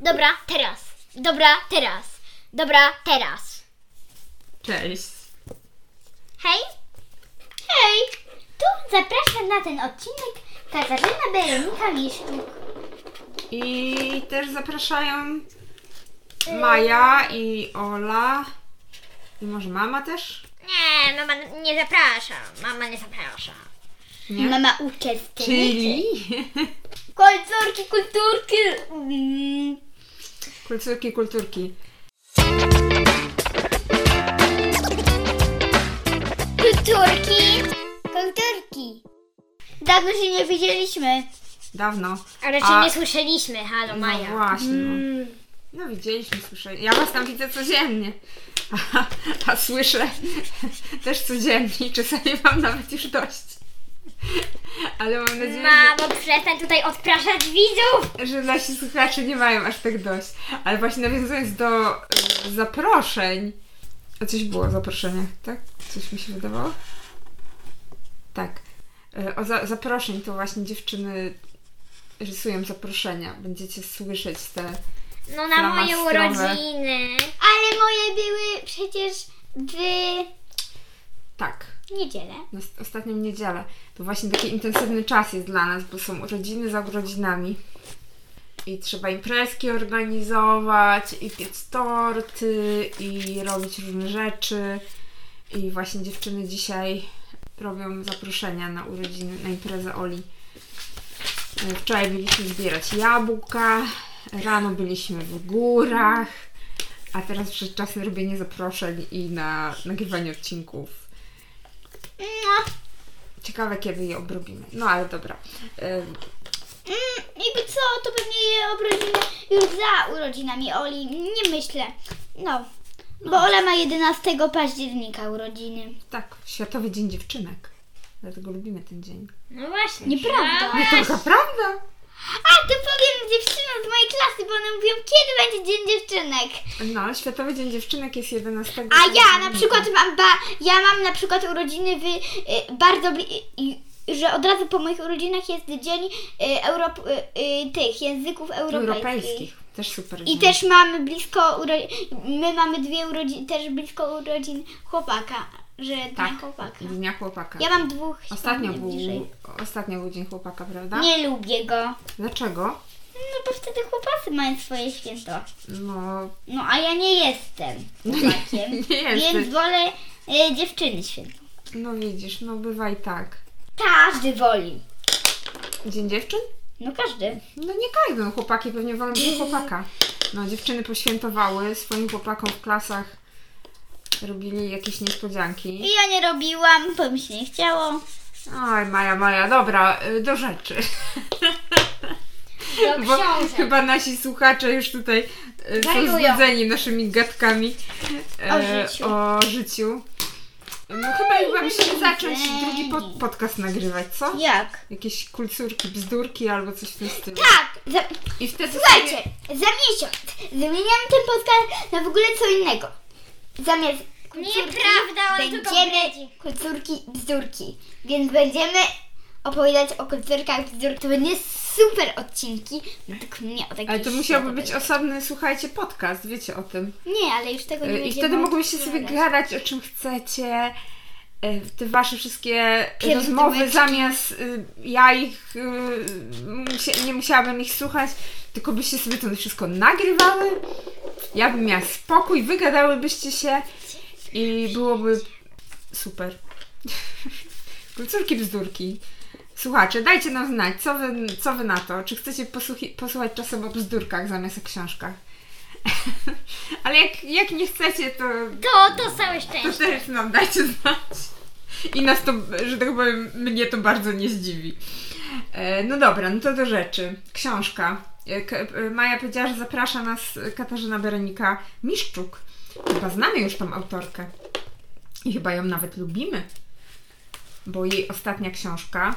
Dobra, teraz. Dobra, teraz. Dobra, teraz. Cześć. Hej. Hej. Tu zapraszam na ten odcinek Katarzyna Berenika Miszczuk. I też zapraszają Maja i Ola. I może mama też? Nie, mama nie zaprasza. Mama nie zaprasza. Nie? Mama uczestniczy. Czyli Kulturki, kulturki. Mm. kulturki, kulturki. Kulturki. Kulturki. Dawno się nie widzieliśmy. Dawno. Ale A- się nie słyszeliśmy, halo No Maja. właśnie, no. Mm. No widzieliśmy, słyszeliśmy. Ja was tam widzę codziennie. A, a słyszę też codziennie. i Czasami mam nawet już dość. Ale mam nadzieję, że- Mamo, przestań tutaj odpraszać widzów. że nasi słuchacze nie mają aż tak dość. Ale właśnie nawiązując do y, zaproszeń. A coś było o zaproszeniach, tak? Coś mi się wydawało? Tak. Y, O za zaproszeń to właśnie dziewczyny rysują zaproszenia. Będziecie słyszeć te. No na Flamastrowe. moje urodziny. Ale moje były przecież w Tak. niedzielę. Na s- ostatnią niedzielę. To właśnie taki intensywny czas jest dla nas, bo są urodziny za urodzinami. I trzeba imprezki organizować, i piec torty, i robić różne rzeczy. I właśnie dziewczyny dzisiaj robią zaproszenia na urodziny, na imprezę Oli. E, Wczoraj byliśmy zbierać jabłka, rano byliśmy w górach, a teraz przez czas na robienie zaproszeń i na nagrywanie odcinków. No. Ciekawe, kiedy je obrobimy. No ale dobra. Ym, Mm, jakby co, to pewnie je obrodzimy już za urodzinami Oli. Nie myślę. No. Bo Ola ma 11 października urodziny. tak, Światowy Dzień Dziewczynek. Dlatego lubimy ten dzień. No właśnie. Nieprawda. trzeba- To prawda? A, to powiem dziewczynom z mojej klasy, bo one mówią, kiedy będzie Dzień Dziewczynek. No, Światowy Dzień Dziewczynek jest 11. A ja na przykład mam, ba, ja mam na przykład urodziny w y, bardzo bli- y, y, że od razu po moich urodzinach jest dzień y, Europ, y, y, tych języków europejskich. Europejskich. Też super. I dzień. też mamy blisko uro... my mamy dwie urodziny, też blisko urodzin chłopaka, że tak. Tak. dnia chłopaka. Dnia Chłopaka. Ja mam dwóch Ostatnio świąt był, bliżej. ostatnio był Dzień Chłopaka, prawda? Nie lubię go. Dlaczego? No bo wtedy chłopacy mają swoje święto. No, No a ja nie jestem chłopakiem. nie Więc jest. wolę y, dziewczyny święto. No widzisz, no bywa i tak. Każdy woli. Dzień dziewczyn? No każdy. No nie każdy, no chłopaki pewnie wolą być chłopaka. No dziewczyny poświętowały swoim chłopakom w klasach, robili jakieś niespodzianki. I ja nie robiłam, bo mi się nie chciało. Oj, Maja, Maja, dobra, y, do rzeczy. Do Bo książek. chyba nasi słuchacze już tutaj y, są Wariują. znudzeni naszymi gadkami y, O życiu. o życiu. No chyba chyba musimy nie zacząć znudzeni. drugi pod podcast nagrywać, co? Jak? Jakieś kulcurki, bzdurki albo coś w tym stylu. Tak! Za, I wtedy sobie... słuchajcie, za miesiąc zmieniam ten podcast na w ogóle co innego. Zamiast kulturki Nieprawda, ale to będziemy kulturki bzdurki. Więc będziemy opowiadać o kulturkach bzdurki. To będzie super odcinki. Według mnie o takich Ale to musiałby być osobny, słuchajcie, podcast, wiecie o tym. Nie, ale już tego nie Y, będziemy I wtedy mogłyście sobie opowiadać. gadać o czym chcecie. y, Te wasze wszystkie Pierdółeczki. rozmowy zamiast y, ja ich y, musia- nie musiałabym ich słuchać, tylko byście sobie to wszystko nagrywały. Ja bym miała spokój, wygadałybyście się i byłoby super. Kulcurki bzdurki. Słuchacze, dajcie nam znać, co wy, co wy na to. Czy chcecie posłuchi- posłuchać czasem o bzdurkach zamiast o książkach? Ale jak, jak nie chcecie, to, To, to to całe szczęście. też nam dajcie znać. I nas to, że tak powiem, mnie to bardzo nie zdziwi. E, no dobra, no to do rzeczy. Książka. E, K- e, Maja powiedziała, że zaprasza nas e, Katarzyna Berenika Miszczuk. Chyba znamy już tą autorkę. I chyba ją nawet lubimy. Bo jej ostatnia książka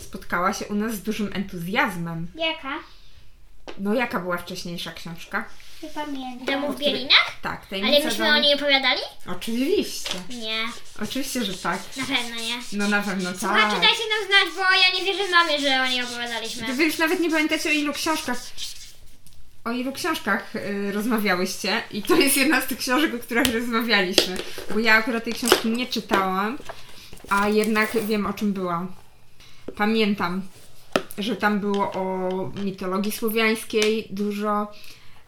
spotkała się u nas z dużym entuzjazmem. Jaka? No jaka była wcześniejsza książka? Nie pamiętam. Domu w Bielinach? Tak, tajemnica Ale myśmy o domu- niej opowiadali? Oczywiście. Nie, Oczywiście, że tak. na pewno nie. No na pewno A czy tak. dajcie nam znać, bo ja nie wierzę mamie, że o niej opowiadaliśmy. Wy już nawet nie pamiętacie o ilu książkach. o ilu książkach y, rozmawiałyście i to jest jedna z tych książek, o których rozmawialiśmy, bo ja akurat tej książki nie czytałam, a jednak wiem o czym była. Pamiętam, że tam było o mitologii słowiańskiej dużo,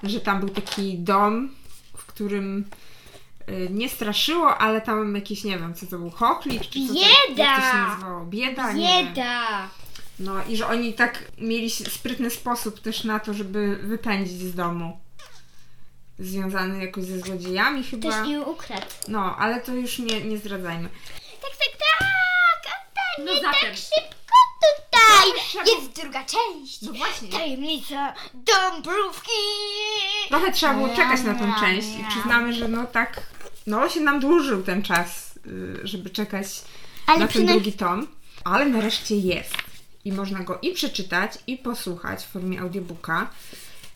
że tam był taki dom, w którym y, nie straszyło, ale tam jakiś, nie wiem, co to był, chochlik czy co To, jak to się Bieda! nazywało? Bieda? Nie wiem. Bieda! No i że oni tak mieli s- sprytny sposób też na to, żeby wypędzić z domu. Związany jakoś ze złodziejami chyba. Ktoś ją ukradł. No, ale to już nie, nie zdradzajmy. Tak, tak, tak! A No nie zatem. tak szybko tutaj! trzeba- Jest druga część! No właśnie. Tajemnica Dąbrówki! Trochę trzeba było czekać na tą część i przyznamy, że no tak, no się nam dłużył ten czas, y, żeby czekać Ale na ten przynajmniej- drugi tom. Ale nareszcie jest. I można go i przeczytać, i posłuchać w formie audiobooka.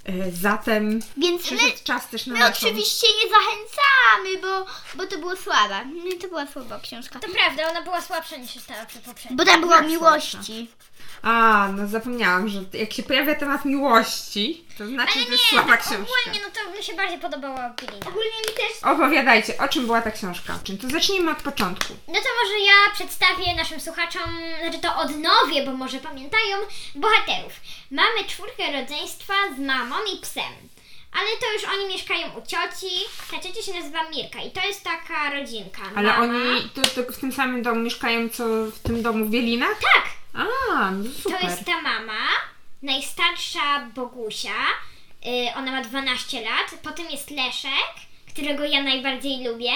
Y, Zatem Więc my, przyszedł czas też na my naszą... oczywiście nie zachęcamy, bo, bo to było słabe. Nie, To była słaba książka. To prawda, ona była słabsza niż została przy poprzedniej. Bo tam było o Jak miłości. tak. A, no zapomniałam, że jak się pojawia temat miłości, to znaczy, że jest słaba tak książka. ogólnie no to mi się bardziej podobała Pilina. Ogólnie mi też... Opowiadajcie, o czym była ta książka? Czym? To zacznijmy od początku. No to może ja przedstawię naszym słuchaczom, znaczy to odnowię, bo może pamiętają, bohaterów. Mamy czwórkę rodzeństwa z mamą i psem. Ale to już oni mieszkają u cioci. Ta ciocia się nazywa Mirka i to jest taka rodzinka. Ale Mama- oni to, to w tym samym domu mieszkają, co w tym domu w Bielinach? Tak, A, no super. To jest ta mama, najstarsza Bogusia. y, ona ma 12 lat. Potem jest Leszek, którego ja najbardziej lubię,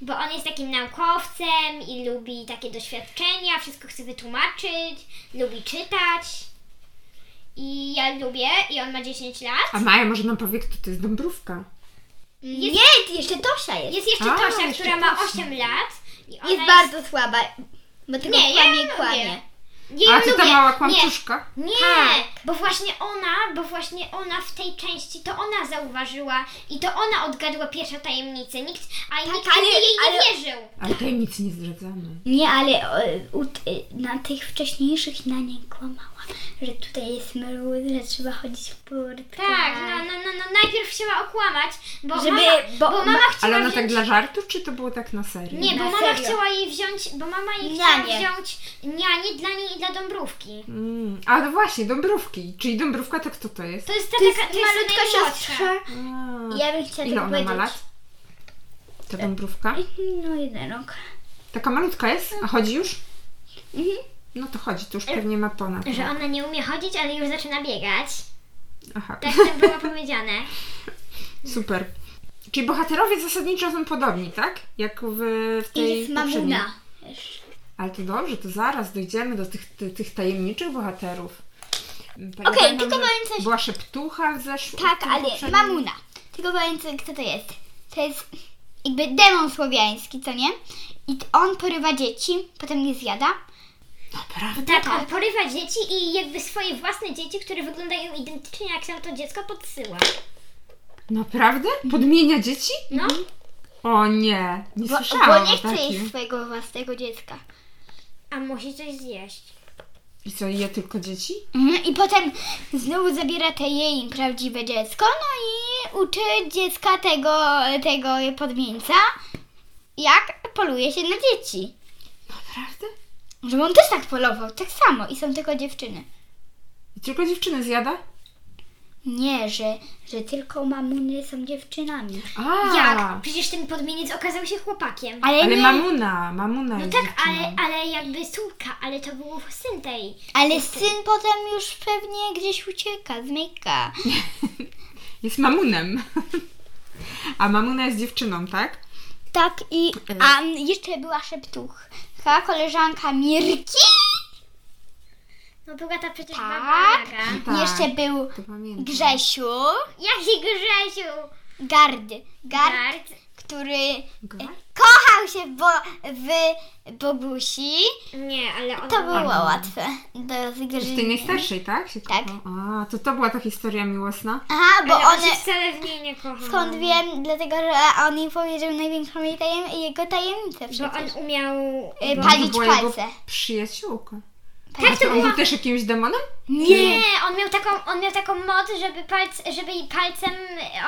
bo on jest takim naukowcem i lubi takie doświadczenia, wszystko chce wytłumaczyć, lubi czytać. I ja lubię, i on ma 10 lat. A Maja może nam powie, kto to jest Dąbrówka. Nie, jeszcze Tosia jest. Jest jeszcze A, Tosia, jeszcze która ma Tosia. 8 lat. I ona Jest bardzo słaba. Bo tylko Nie, ja kłamie, lubię. kłamie. Ja A ją ty ta lubię. mała Nie, kłamczuszka? Nie, Tak. bo właśnie ona, bo właśnie ona w tej części, to ona zauważyła i to ona odgadła pierwszą tajemnicę, nikt, a nikt ale- Tak, ale, jej nie ale- wierzył. Ale tajemnicy nie zdradzamy. Nie, ale o, u, y, na tych wcześniejszych na nie kłamała, że tutaj jest mróz, że trzeba chodzić w portkach. Tak, no, no, no, no, najpierw chciała okłamać, bo Żeby- mama, bo- bo, ma- mama chciała Ale ona tak wziąć, dla żartu, czy to było tak na serio? nie, bo Na mama serio. chciała jej wziąć, bo mama jej Nianie. chciała wziąć nianie dla niej i dla Dąbrówki. Mm. A no właśnie, Dąbrówki. Czyli Dąbrówka to kto to jest? To jest ta To jest taka, to jest malutka najmłodsza. siostra. A. Ja bym chciała Ile tak ona ma powiedzieć. lat? Ta Dąbrówka? No jeden rok. Taka malutka jest? A chodzi już? Mhm. No to chodzi, to już E, pewnie ma ponad. no. Że ona nie umie chodzić, ale już zaczyna biegać. Aha, Tak to było powiedziane. super. Czyli bohaterowie zasadniczo są podobni, tak? Jak w, w I tej jest poprzedniej. mamuna. Ale to dobrze, to zaraz dojdziemy do tych, ty, tych tajemniczych bohaterów. Pamiętam, Okej, tylko że powiem coś- Była szeptucha w zeszłym Tak, ale mamuna. Tylko powiem, co- kto to jest. To jest jakby demon słowiański, co nie? I t- on porywa dzieci, potem je zjada. Naprawdę? Tak, on porywa dzieci i jakby swoje własne dzieci, które wyglądają identycznie jak tamto dziecko, podsyła. Naprawdę? Podmienia dzieci? No, Mhm. O nie, nie Bo, słyszałam bo o nie chce takim. jeść swojego własnego dziecka. a musi coś zjeść. I co, je tylko dzieci? Mhm, I potem znowu zabiera te jej prawdziwe dziecko, no i uczy dziecka tego, tego podmieńca, jak poluje się na dzieci. Naprawdę? Żeby on też tak polował, tak samo. I są tylko dziewczyny. I tylko dziewczyny zjada? Nie, że, że tylko mamuny są dziewczynami. A, Jak? Przecież ten podmieniec okazał się chłopakiem. Ale, Ale nie, mamuna, mamuna No jest tak, ale, dziewczyną. ale jakby córka, ale to był syn tej. ale syn potem już pewnie gdzieś ucieka, zmyka. Jest mamunem. A mamuna jest dziewczyną, tak? Tak i... E. A m, jeszcze była szeptucha, koleżanka Mirki. No była ta przecież Tak. baba Jaga. Tak. Jeszcze był To pamiętam. Grzesiu. Jaki Grzesiu! Gard. Gard, Gard. który Gwar? kochał się w, bo, w Bogusi. Nie, ale on... To było łatwe do Z tej zgryzienia. najstarszej, tak? Się Tak. kochał? A, to to była ta historia miłosna? Aha, bo Ale on one... się wcale w niej nie kochał. Skąd wiem? Dlatego, że on jej powiedział największą jej tajem jego tajemnicę No, Bo przecież. on umiał... Y, bo- Może palić była palce. jego przyjaciółka. A Tak to to on było. był też jakimś demonem? Nie, on miał taką, on miał taką moc, żeby, palc, żeby jej palcem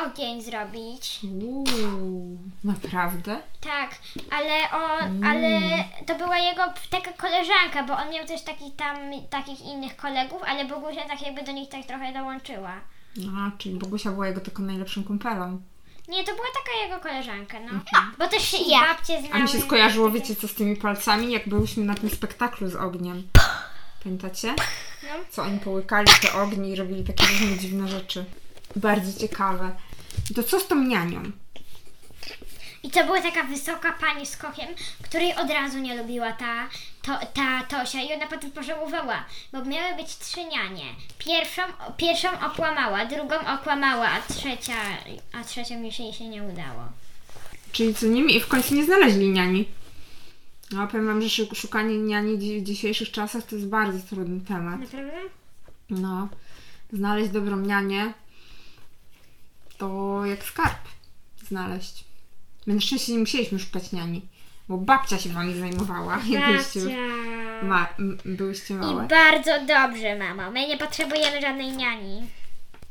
ogień zrobić. Uuu, naprawdę? Tak, ale on, ale to była jego p- taka koleżanka, bo on miał też taki tam, takich innych kolegów, ale Bogusia tak jakby do nich tak trochę dołączyła. A, No, czyli Bogusia była jego taką najlepszą kumpelą. Nie, to była taka jego koleżanka, no. Bo też się ja. Ja. babcie znały. Mhm. A mi się skojarzyło, wiecie co, z tymi palcami, jak byłyśmy na tym spektaklu z ogniem. Pamiętacie? No. Co oni połykali te ognie i robili takie różne dziwne rzeczy. Bardzo ciekawe. To co z tą nianią? I to była taka wysoka pani z kokiem, której od razu nie lubiła ta, to, ta Tosia i ona potem pożałowała, bo miały być trzy nianie. Pierwszą, pierwszą okłamała, drugą okłamała, a trzecia, a trzecią już jej się nie udało. Czyli co nimi i w końcu nie znaleźli niani. No, powiem wam, że szu- szukanie niani dzi- w dzisiejszych czasach to jest bardzo trudny temat. Naprawdę? No, znaleźć dobrą nianię to jak skarb znaleźć. My na szczęście nie musieliśmy szukać niani, bo babcia się wami zajmowała, jak byliście, ma- m- byłyście małe. I bardzo dobrze, mamo. My nie potrzebujemy żadnej niani.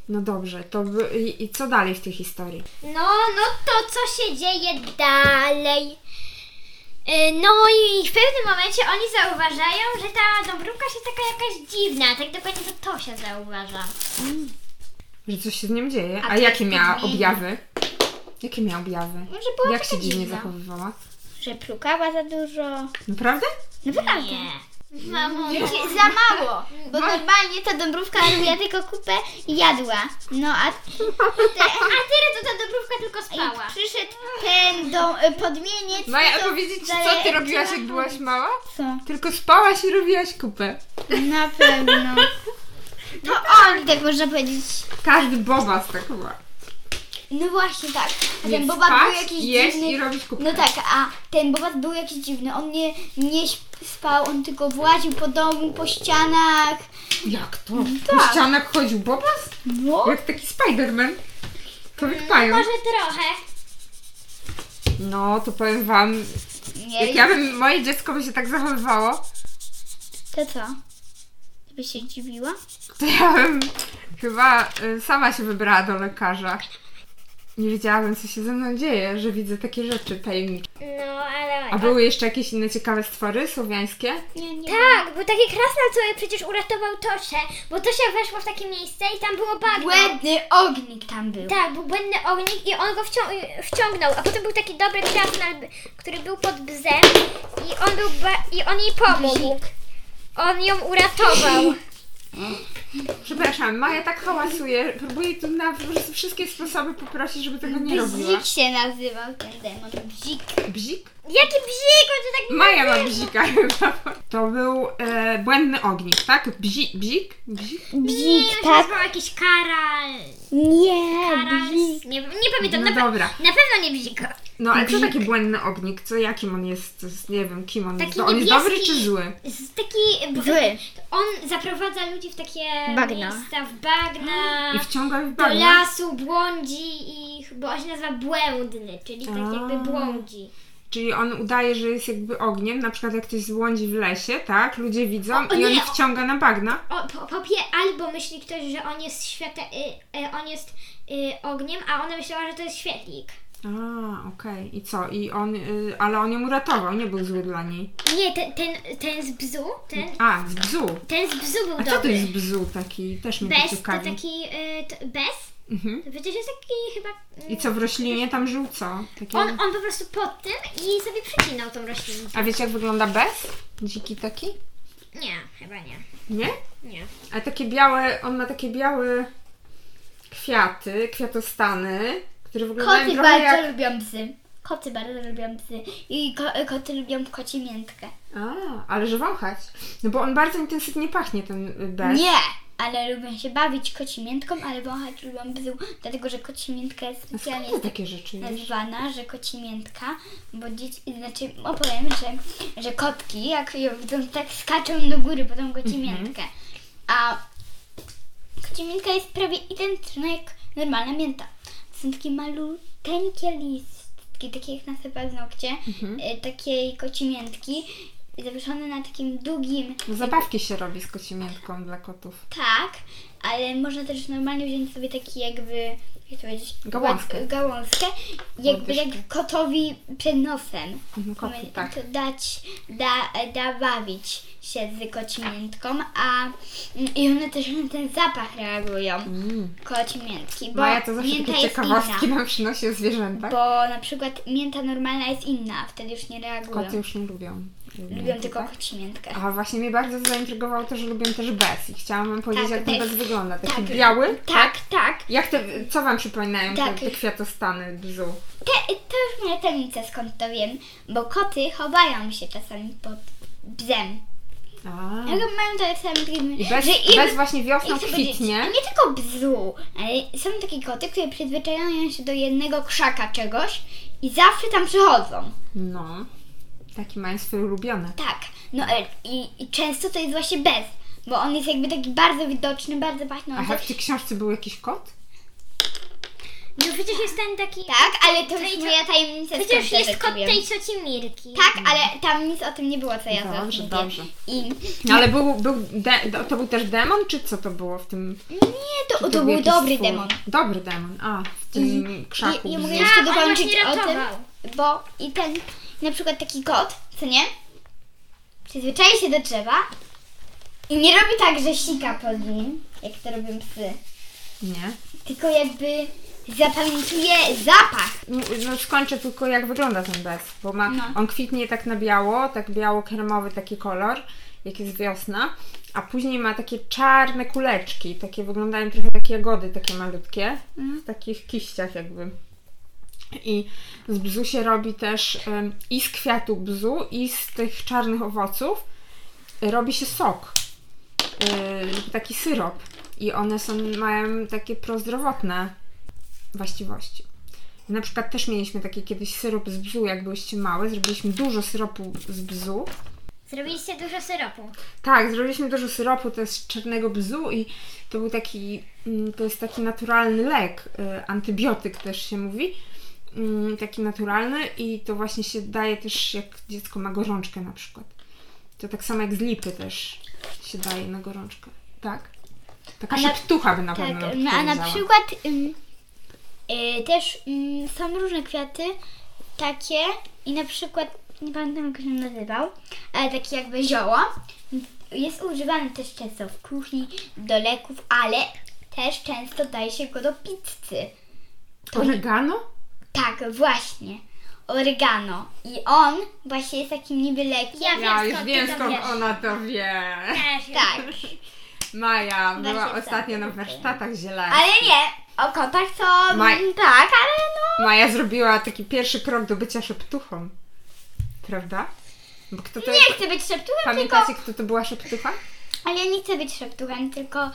No dobrze, to wy- i, i co dalej w tej historii? No, no to co się dzieje dalej? Y, No i w pewnym momencie oni zauważają, że ta Dąbrówka się taka jakaś dziwna. Tak dokładnie to Tosia zauważa. Że coś się z nim dzieje? A, to jakie jest miała podwójne. objawy? Jakie miała objawy? Może była Jak taka się dziwnie dziwna. zachowywała? Że plukała za dużo. Naprawdę? Tak. Naprawdę. Nie. Mamo, Że się- No, Za mało, bo No. normalnie ta dąbrówka robiła tylko kupę i jadła. No a te, a teraz to ta Dąbrówka tylko spała. i przyszedł ten dom, podmieniec. Maja, to opowiedzieć ci, co zale- ty robiłaś, jak byłaś mała? Co? Tylko spałaś i robiłaś kupę. Na pewno. To oni tak można powiedzieć. Każdy bobas tak była. No właśnie tak. A Nie ten bobat był spać, jakiś jeść dziwny. i robić kupę. No tak, a ten bobat był jakiś dziwny. On nie, nie śp- spał, on tylko właził po domu, po ścianach. Jak to? tak. Po ścianach chodził bobas? No. Jak taki Spiderman. Mm, Człowiek pająk. Może trochę. No, to powiem wam, Nie, jak ja bym, moje dziecko by się tak zachowywało, To co? By się dziwiła? to ja bym chyba y, sama się wybrała do lekarza. Nie wiedziałabym, co się ze mną dzieje, że widzę takie rzeczy tajemnicze. No, ale... Tak. A były jeszcze jakieś inne ciekawe stwory słowiańskie? Nie, nie. Tak, był taki krasnal, co przecież uratował Tosię, bo Tosia weszła w takie miejsce i tam było bagno. Błędny Tak, ognik tam był. Tak, był błędny ognik i on go wcią- wciągnął, a potem był taki dobry krasnal, b- który był pod bzem i on, był ba- i on jej pomógł. On ją uratował. Przepraszam, Maja tak hałasuje, próbuje tu na wsz- wszystkie sposoby poprosić, żeby tego nie robiła. Bzik się nazywał ten demon. Bzik. Bzik? Jaki bzik, on się tak... Maja ma bzika chyba. To był e, błędny ognik, tak? Bzi, bzik? Bzik? Nie, Bzik, tak? on się nazywał jakiś karal. Nie, karal bzik. nie, nie pamiętam, No na, pe- dobra. na pewno nie bzika. No ale co taki błędny ognik? Co, jakim on jest? To jest- Nie wiem, kim on Taki jest. To on jest niebieski. dobry czy zły? Z taki... b- Zły. On zaprowadza ludzi w takie Bagna. miejsca, w bagna. I wciąga w do bagno. lasu błądzi ich, bo on się nazywa błędny, czyli tak jakby A. błądzi. Czyli on udaje, że jest jakby ogniem, na przykład jak ktoś złądzi w lesie, tak? Ludzie widzą O, o i on nie, ich wciąga na bagna. O, po, po pie, albo myśli ktoś, że on jest świate, y, y, on jest y, ogniem, a ona myślała, że to jest świetlik. A, okej. I co? I on, y, ale on ją uratował, nie był zły dla niej. Nie, ten, ten, ten z bzu, ten, A, z bzu. ten z bzu był A co to dobry. jest bzu taki? Też mnie to Bez, to ciekawi. taki, y, to, bez, Mhm. to przecież jest taki chyba, mm, I co, w roślinie tam żył co? Takie... on, on po prostu pod tym i sobie przycinał tą roślinę. A wiecie jak wygląda bez? Dziki taki? Nie, chyba nie, Nie? nie. A takie białe, on ma takie białe kwiaty, kwiatostany, które wyglądają Koty trochę bardzo jak... lubią psy. Koty bardzo lubią psy. I ko- koty lubią kocie miętkę. A, ale że wąchać. No bo on bardzo intensywnie pachnie ten bez. Nie! Ale lubią się bawić koci miętką, ale wąchać lubią bzu, dlatego że koci miętka jest A specjalnie skąd takie rzeczy wiesz? nazwana, że koci miętka, bo dzieci, znaczy opowiem, że, że kotki jak ją widzą, tak skaczą do góry, potem koci miętkę. A koci miętka jest prawie identyczna jak normalna mięta. To są takie maluteńkie listki, takie jak na paznokcie, mhm. takiej koci y, miętki zawieszony na takim długim, No, zabawki się robi z kocimiętką dla kotów. tak, ale można też normalnie wziąć sobie taki jakby, jak to powiedzieć, Gałązkę. ład- gałązkę jakby Łodyżkę. jak kotowi przed nosem. Mhm, Koty, tak. To dać, da, da bawić się z kocimiętką, a i one też na ten zapach reagują, Mm. kocimiętki, bo Maja to zawsze mięta takie jest ciekawostki tak? inna. nam przynosi o zwierzętach. Bo na przykład mięta normalna jest inna, wtedy już nie reagują. Koty już nie lubią. Lubią tylko tak? kocimiętkę. A właśnie mnie bardzo zaintrygowało to, że lubię też bez i chciałam wam powiedzieć, Tak, jak ten bez. bez wygląda. Taki Tak. biały. Tak, tak. Jak te, co wam przypominają Tak. te, te kwiatostany bizu? Te, to już moja tajemnica, skąd to wiem. Bo koty chowają się czasami pod bzem. A. Jak mają to same I bez, że im- bez właśnie wiosną jak to powiedzieć, kwitnie. Nie tylko bzu, ale są takie koty, które przyzwyczajają się do jednego krzaka czegoś i zawsze tam przychodzą. No. Taki mają swoje ulubione. Tak. No e, i, i często to jest właśnie bez, bo on jest jakby taki bardzo widoczny, bardzo Aha, pachnący. w tej książce był jakiś kot? No przecież jest ten taki... Tak, ale to i już to- moja tajemnica. skąd Przecież te jest rzeczy kot wiem. tej cioci Mirki. Tak, ale tam nic o tym nie było, co ja Dobrze, zawsze dobrze. I No, ale był, był de, to był też demon, czy co to było w tym? nie, to, to był był jakiś dobry stwór? demon. Dobry demon, a w tym krzaku. I, i mogę bzu. jeszcze on dokończyć Tak, właśnie o tym, ratował. bo i ten, na przykład taki kot, co nie, przyzwyczaja się do drzewa i nie robi tak, że sika pod nim, jak to robią psy, Nie. tylko jakby zapamiętuje zapach. No skończę tylko jak wygląda ten bez, bo ma, No. on kwitnie tak na biało, tak biało-kremowy taki kolor, jak jest wiosna, a później ma takie czarne kuleczki, takie wyglądają trochę jak jagody, takie malutkie, w takich kiściach jakby. I z bzu się robi też em, i z kwiatu bzu, i z tych czarnych owoców robi się sok, y, taki syrop i one są, mają takie prozdrowotne właściwości. Na przykład też mieliśmy taki kiedyś syrop z bzu, jak byłyście małe, zrobiliśmy dużo syropu z bzu. Zrobiliście dużo syropu. Tak, zrobiliśmy dużo syropu, to jest z czarnego bzu i to był taki, mm, to jest taki naturalny lek, y, antybiotyk też się mówi, mm, taki naturalny i to właśnie się daje też jak dziecko ma gorączkę na przykład. To tak samo jak z lipy też się daje na gorączkę, tak? Taka A na- szeptucha by na Tak, pewno no, a na odpowiedziała. przykład ym, y, też ym, są różne kwiaty takie i na przykład, nie pamiętam jak się nazywał, ale takie jakby zioło. Jest używany też często w kuchni, do leków, ale też często daje się go do pizzy. Oregano? Tak, właśnie. Oregano. I on właśnie jest takim niby lekiem. Ja Ja wiem, już skąd wiem, ty to skąd wiesz. ona to wie. Też jest. Tak, Maja była Warszawska. ostatnio na warsztatach zielarskich. ale nie. O kotach to Maj- tak, ale no Maja zrobiła taki pierwszy krok do bycia szeptuchą. Prawda? Bo kto to... nie chcę być szeptuchem, tylko... Pamiętacie, kto to była szeptucha? Ale ja nie chcę być szeptuchem, tylko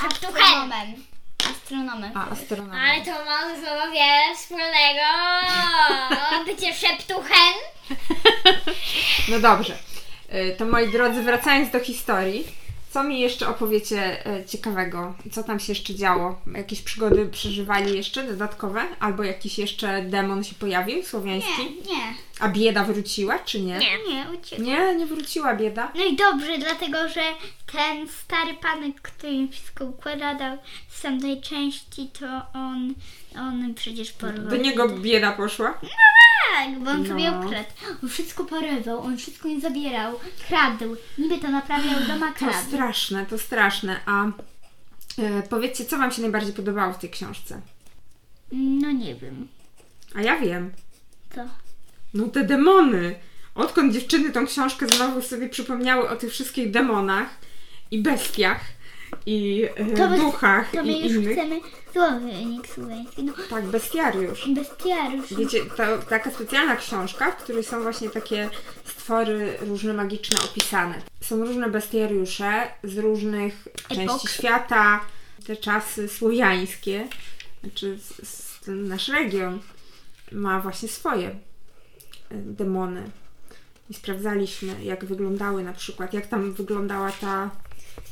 Szeptuchem. astronomem. Astronomem. A, astronautka. Ale to ma ze sobą wiele wspólnego. Bycie szeptuchem. No dobrze. Y, To moi drodzy, wracając do historii, co mi jeszcze opowiecie y, ciekawego? Co tam się jeszcze działo? Jakieś przygody przeżywali jeszcze dodatkowe? Albo jakiś jeszcze demon się pojawił słowiański? Nie, nie, A bieda wróciła, czy nie? Nie. nie, uciekł. Nie, nie wróciła bieda. No i dobrze, dlatego że ten stary panek, który im wszystko układał z tamtej części, to on, on przecież porwał. Do niego bieda poszła. Tak, bo No on sobie No. ukradł. On wszystko porywał, on wszystko im zabierał, kradł. Niby to naprawiał w doma, To kradł. straszne, to straszne. A e, powiedzcie, co Wam się najbardziej podobało w tej książce? No nie wiem, A ja wiem. co. No te demony. Odkąd dziewczyny tą książkę znowu sobie przypomniały o tych wszystkich demonach i bestiach i e, To my- duchach To my i już innych. chcemy słownik słowiański. No, Tak, bestiariusz. bestiariusz. Wiecie, to taka specjalna książka, w której są właśnie takie stwory różne magiczne opisane. Są różne bestiariusze z różnych części świata, te czasy słowiańskie, znaczy s- s- ten nasz region ma właśnie swoje y, demony. I sprawdzaliśmy, jak wyglądały na przykład, jak tam wyglądała ta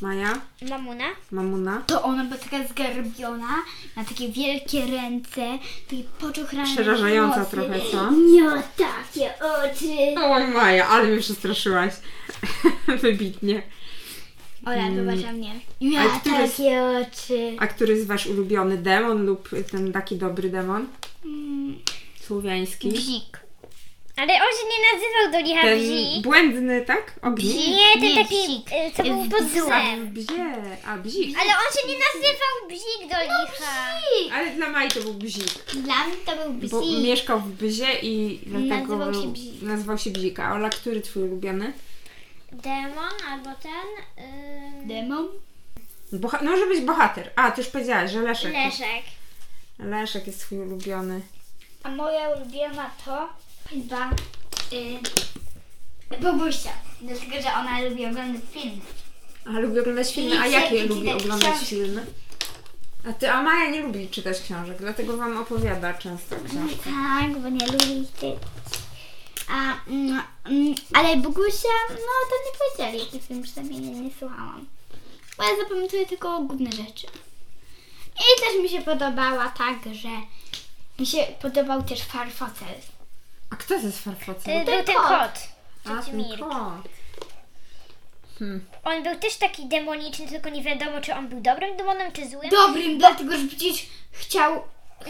Maja, Mamuna. mamuna. To ona była taka zgarbiona, ma takie wielkie ręce, takie poczuchrane Przerażająca włosy. trochę, co? Nie takie oczy. O Maja, ale mnie przestraszyłaś. Wybitnie. Ola, wybacza mnie. Ale Miała który jest- takie oczy. A który jest wasz ulubiony demon lub ten taki dobry demon? Mm. Słowiański. Bzik. Ale on się nie nazywał do licha Ten bzik. błędny, tak? Ognik? Nie, ten Nie, taki, bzik. y, co był Y, pod bzik. A, złem. bzie, a bzik. Ale on się nie nazywał No, bzik do licha. Ale dla Maji to był bzik, Dla mnie to był bo bzik. mieszkał w bzie i dlatego Nazywał się Bzik. nazywał się bzik. A Ola, który twój ulubiony? Demon albo ten... ym, Demon? Boha- no, może być bohater. A, ty już powiedziałaś, że Leszek. Leszek. Leszek jest twój ulubiony. A moja ulubiona to chyba y, Bogusia. Dlatego, że ona lubi oglądać filmy. A lubię oglądać filmy. A I jakie czytać lubi oglądać książki. filmy? A ty, a Maja nie lubi czytać książek, dlatego wam opowiada często książki. Tak, bo nie lubi ty. A, no, mm, ale Bogusia, no to nie powiedzieli, jaki film przynajmniej nie, nie słuchałam. Bo ja zapamiętuję tylko główne rzeczy. I też mi się podobała tak, że mi się podobał też Farfocel. A kto to jest farfocel? Ten, Y, był ten kot. kot. A, ten Mirek. kot. On był też taki demoniczny, tylko nie wiadomo, czy on był dobrym demonem, czy złym. Dobrym, dlatego że przecież chciał,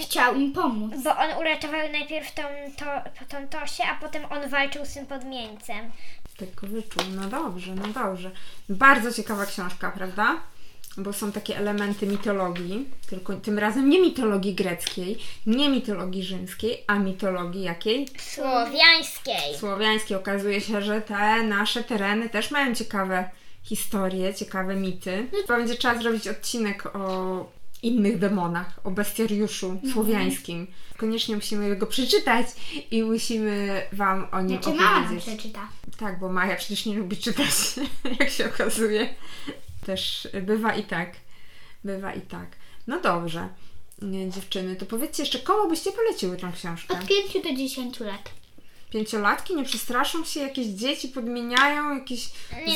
chciał im pomóc. Bo on uratował najpierw tą, to, tą Tosię, a potem on walczył z tym podmieńcem. Tak go wyczuł. No dobrze, no dobrze. Bardzo ciekawa książka, prawda? Bo są takie elementy mitologii, tylko tym razem nie mitologii greckiej, nie mitologii rzymskiej, a mitologii jakiej? Słowiańskiej. Słowiańskiej. Okazuje się, że te nasze tereny też mają ciekawe historie, ciekawe mity. No. Chyba będzie trzeba zrobić odcinek o innych demonach, o bestiariuszu Mhm. słowiańskim. Koniecznie musimy go przeczytać i musimy Wam o nim Znaczy mama nam opowiedzieć. przeczyta. Tak, bo Maja przecież nie lubi czytać, jak się okazuje. Też bywa i tak. Bywa i tak. No dobrze, Nie, dziewczyny, to powiedzcie jeszcze, komu byście poleciły tą książkę? Od 5 do 10 lat. Pięciolatki nie przestraszą się, jakieś dzieci podmieniają, jakieś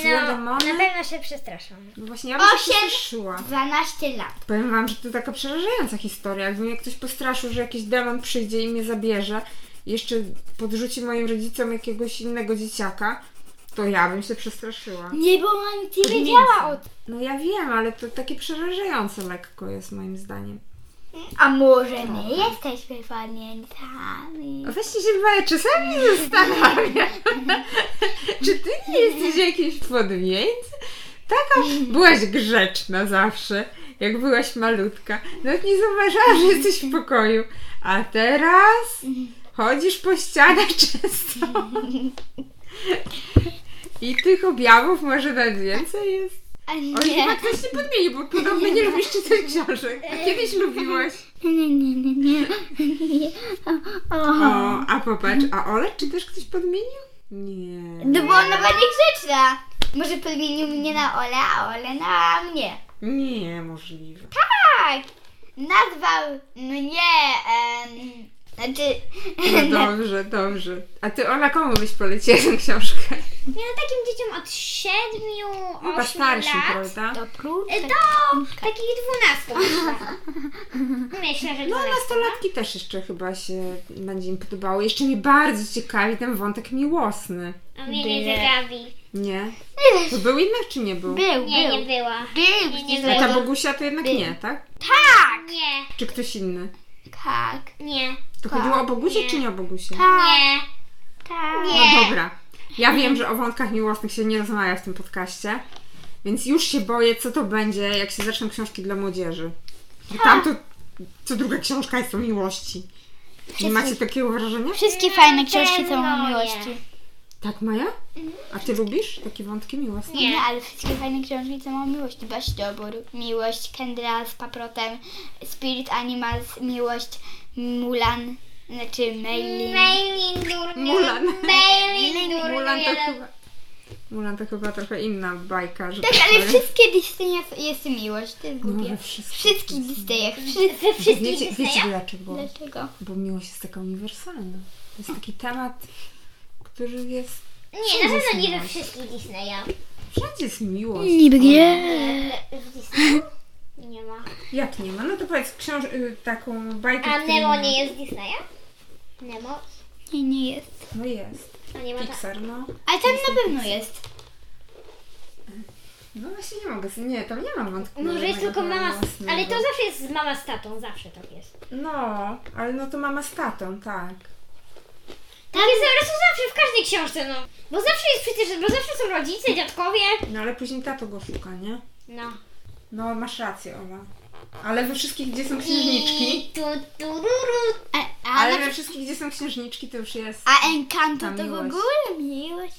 złe na demony? pewno się przestraszą. No właśnie, ja bym się Osiem. przestraszyła. 12 lat. Powiem Wam, że to taka przerażająca historia. Jakby mnie ktoś postraszył, że jakiś demon przyjdzie i mnie zabierze, jeszcze podrzuci moim rodzicom jakiegoś innego dzieciaka, to ja bym się przestraszyła. Nie, bo ona nic nie wiedziała o tym. No ja wiem, ale to takie przerażające lekko jest moim zdaniem. A może my jesteśmy pamiętami? A weźcie się Maja, czasami zastanawiam, czy ty nie jesteś jakimś podmieńcem? Taka byłaś grzeczna zawsze, jak byłaś malutka. Nawet nie zauważyłam, że jesteś w pokoju. A teraz chodzisz po ścianach często. I tych objawów może nawet więcej jest. A O, nie. chyba nie. ktoś się podmieni, bo podobnie nie lubisz czytać książek. A kiedyś lubiłaś. Nie, nie, nie, nie. nie. O, o. O, a popatrz, a Ole, czy też ktoś podmienił? Nie. No bo ona była niegrzeczna. Może podmienił mnie na Ole, a Ole na mnie. Nie, możliwe. Tak. Nazwał mnie. Em, znaczy. No dobrze, dobrze. A ty, Ola, komu byś poleciła tę książkę? Nie, no takim dzieciom od siedmiu, Chyba ośmiu starszym, lat. prawda? Do prób. Y, Do takich dwunastu. Myślę, że No, dwunastu. nastolatki też jeszcze chyba się będzie im podobało. Jeszcze mnie bardzo ciekawi ten wątek miłosny. no, A No, mnie nie zabawi. Nie? To był jednak, czy nie był? Był, Nie, nie był. była. Był, Nie, nie nie A ta był. Bogusia to jednak nie, tak? Tak! Nie, Czy ktoś inny? Tak. nie, To Tak. chodziło o Bogusie, czy nie o Bogusie? Tak. nie. Tak. No Nie. dobra. Ja wiem, że o wątkach miłosnych się nie rozmawia w tym podcaście, więc już się boję, co to będzie, jak się zaczną książki dla młodzieży. Bo Tam to co druga książka jest o miłości. Nie macie takiego wrażenia? Wszystkie fajne książki są pewno o no nie. miłości. Tak, Maja? A ty lubisz takie wątki miłosne? Nie. Nie, ale wszystkie fajne książki są o miłości. Baś Dobór, Miłość, Kendra z Paprotem, Spirit Animals, Miłość, Mulan, znaczy Meili. Mailin durny. Mulan. Mailin durny. Mulan to chyba... Mulan to chyba trochę inna bajka, że Tak, tak ale powiem. wszystkie Disney jest, jest miłość, to jest No, we głupie. wszystkich. Wszystkich Disneyach, wszyscy. Wiecie, wiecie dlaczego? Dlaczego? Bo miłość jest taka uniwersalna. To jest taki temat, który jest Nie, na pewno nie we wszystkich Disneya. Wszędzie jest miłość. Niby nie. E, W Disneyu? Nie ma. Jak nie ma? No to powiedz książ- y, taką bajkę. A której Nemo ma. nie jest z Disneya? Nemo? Nie, nie jest. No jest. A nie ma ta... Pixar, no. Ale tam na pewno jest. No właśnie nie mogę. Nie, tam nie mam wątku. Może jest żadnego tylko mama... takiego Z... Ale to mocnego. zawsze jest z mama z tatą, zawsze tak jest. No, ale no to mama z tatą, tak. Tak jest zresztą zawsze, w każdej książce, no. Bo zawsze jest przecież, bo zawsze są rodzice, dziadkowie. No ale później tato go szuka, nie? No. No masz rację, Ola. Ale we wszystkich, gdzie są I księżniczki. tu, tu, ru, ru. A, a, Ale we wszystkich, gdzie są księżniczki, to już jest. a Encanto Ta to w miłość. ogóle miłość.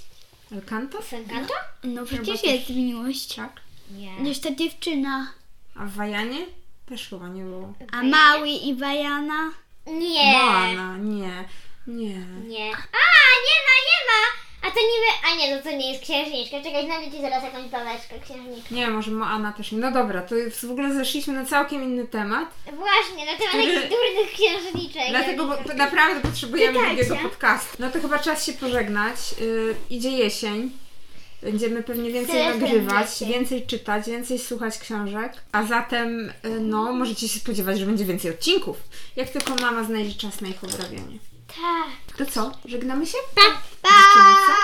El Canto? Senkanto? No Chyba przecież też. jest miłość. Tak. Nie. Jeszcze ta dziewczyna. A w Wajanie? Też chyba nie było. A Mały i Bajana. Nie. Moana, nie. Nie. Nie. A, nie ma, nie ma. A to niby... A nie, no to nie jest księżniczka. Czekaj, znajdę ci zaraz jakąś babeczkę księżniczka. Nie, może Moana też nie. No dobra, to jest, w ogóle zeszliśmy na całkiem inny temat. Właśnie, na temat Który- jakichś durnych księżniczek. Dlatego bo, bo naprawdę potrzebujemy Pytajcie. drugiego podcastu. No to chyba czas się pożegnać. Y, idzie jesień. Będziemy pewnie więcej Telefon nagrywać, wreszcie. więcej czytać, więcej słuchać książek. A zatem, y, no, możecie się spodziewać, że będzie więcej odcinków. Jak tylko mama znajdzie czas na ich obrabianie. Tak. To co? Żegnamy się? Tak. Dziewczyny, co?